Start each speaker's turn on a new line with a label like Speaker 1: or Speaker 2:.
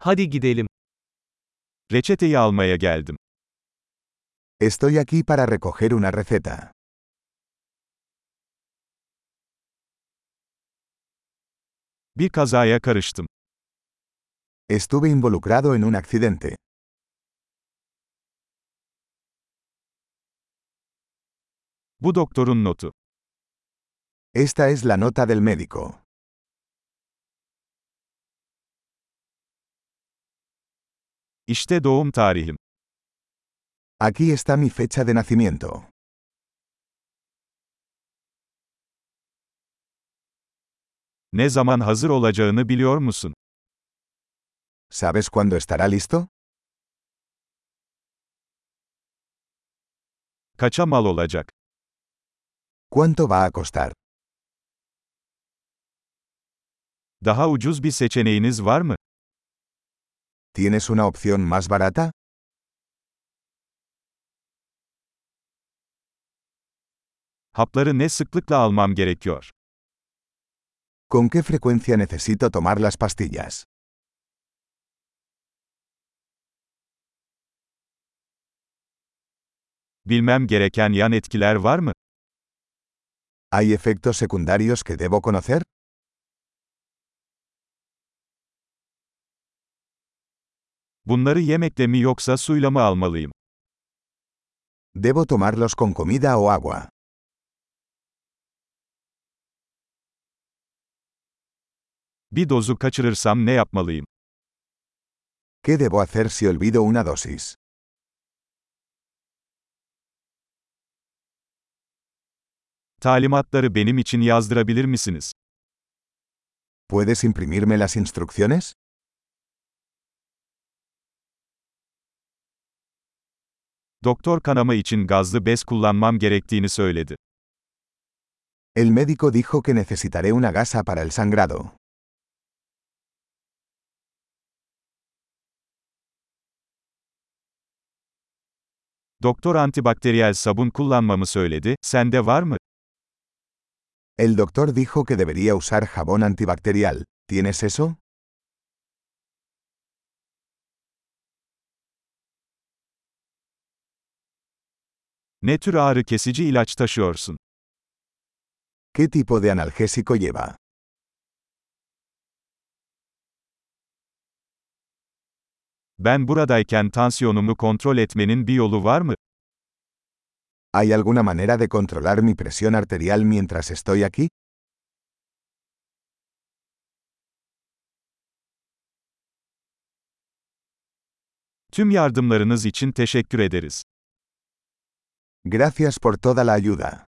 Speaker 1: Hadi gidelim. Reçeteyi almaya geldim.
Speaker 2: Estoy aquí para recoger una receta.
Speaker 1: Bir kazaya karıştım.
Speaker 2: Estuve involucrado en un accidente.
Speaker 1: Bu doktorun notu.
Speaker 2: Esta es la nota del médico.
Speaker 1: İşte doğum tarihim.
Speaker 2: Aquí está mi fecha de nacimiento.
Speaker 1: Ne zaman hazır olacağını biliyor musun?
Speaker 2: ¿Sabes cuándo estará listo?
Speaker 1: Kaça mal olacak?
Speaker 2: ¿Cuánto va a costar?
Speaker 1: Daha ucuz bir seçeneğiniz var mı?
Speaker 2: ¿Tienes una opción más barata?
Speaker 1: Hapları ne sıklıkla almam gerekiyor?
Speaker 2: ¿Con qué frecuencia necesito tomar las pastillas?
Speaker 1: Bilmem gereken yan etkiler var mı?
Speaker 2: ¿Hay efectos secundarios que debo conocer?
Speaker 1: Bunları yemekle mi yoksa suyla mı almalıyım?
Speaker 2: ¿Debo tomarlos con comida o agua?
Speaker 1: Bir dozu kaçırırsam ne yapmalıyım?
Speaker 2: ¿Qué debo hacer si olvido una dosis?
Speaker 1: Talimatları benim için yazdırabilir misiniz?
Speaker 2: ¿Puedes imprimirme las instrucciones?
Speaker 1: Doktor kanama için gazlı bez kullanmam gerektiğini söyledi.
Speaker 2: El médico dijo que necesitaré una gasa para el sangrado.
Speaker 1: Doktor antibakteriyel sabun kullanmamı söyledi, sende var mı?
Speaker 2: El doctor dijo que debería usar jabón antibacterial. ¿Tienes eso?
Speaker 1: Ne tür ağrı kesici ilaç taşıyorsun?
Speaker 2: ¿Qué tipo de analgésico lleva?
Speaker 1: Ben buradayken tansiyonumu kontrol etmenin bir yolu var mı?
Speaker 2: ¿Hay alguna manera de controlar mi presión arterial mientras estoy aquí?
Speaker 1: Tüm yardımlarınız için teşekkür ederiz.
Speaker 2: Gracias por toda la ayuda.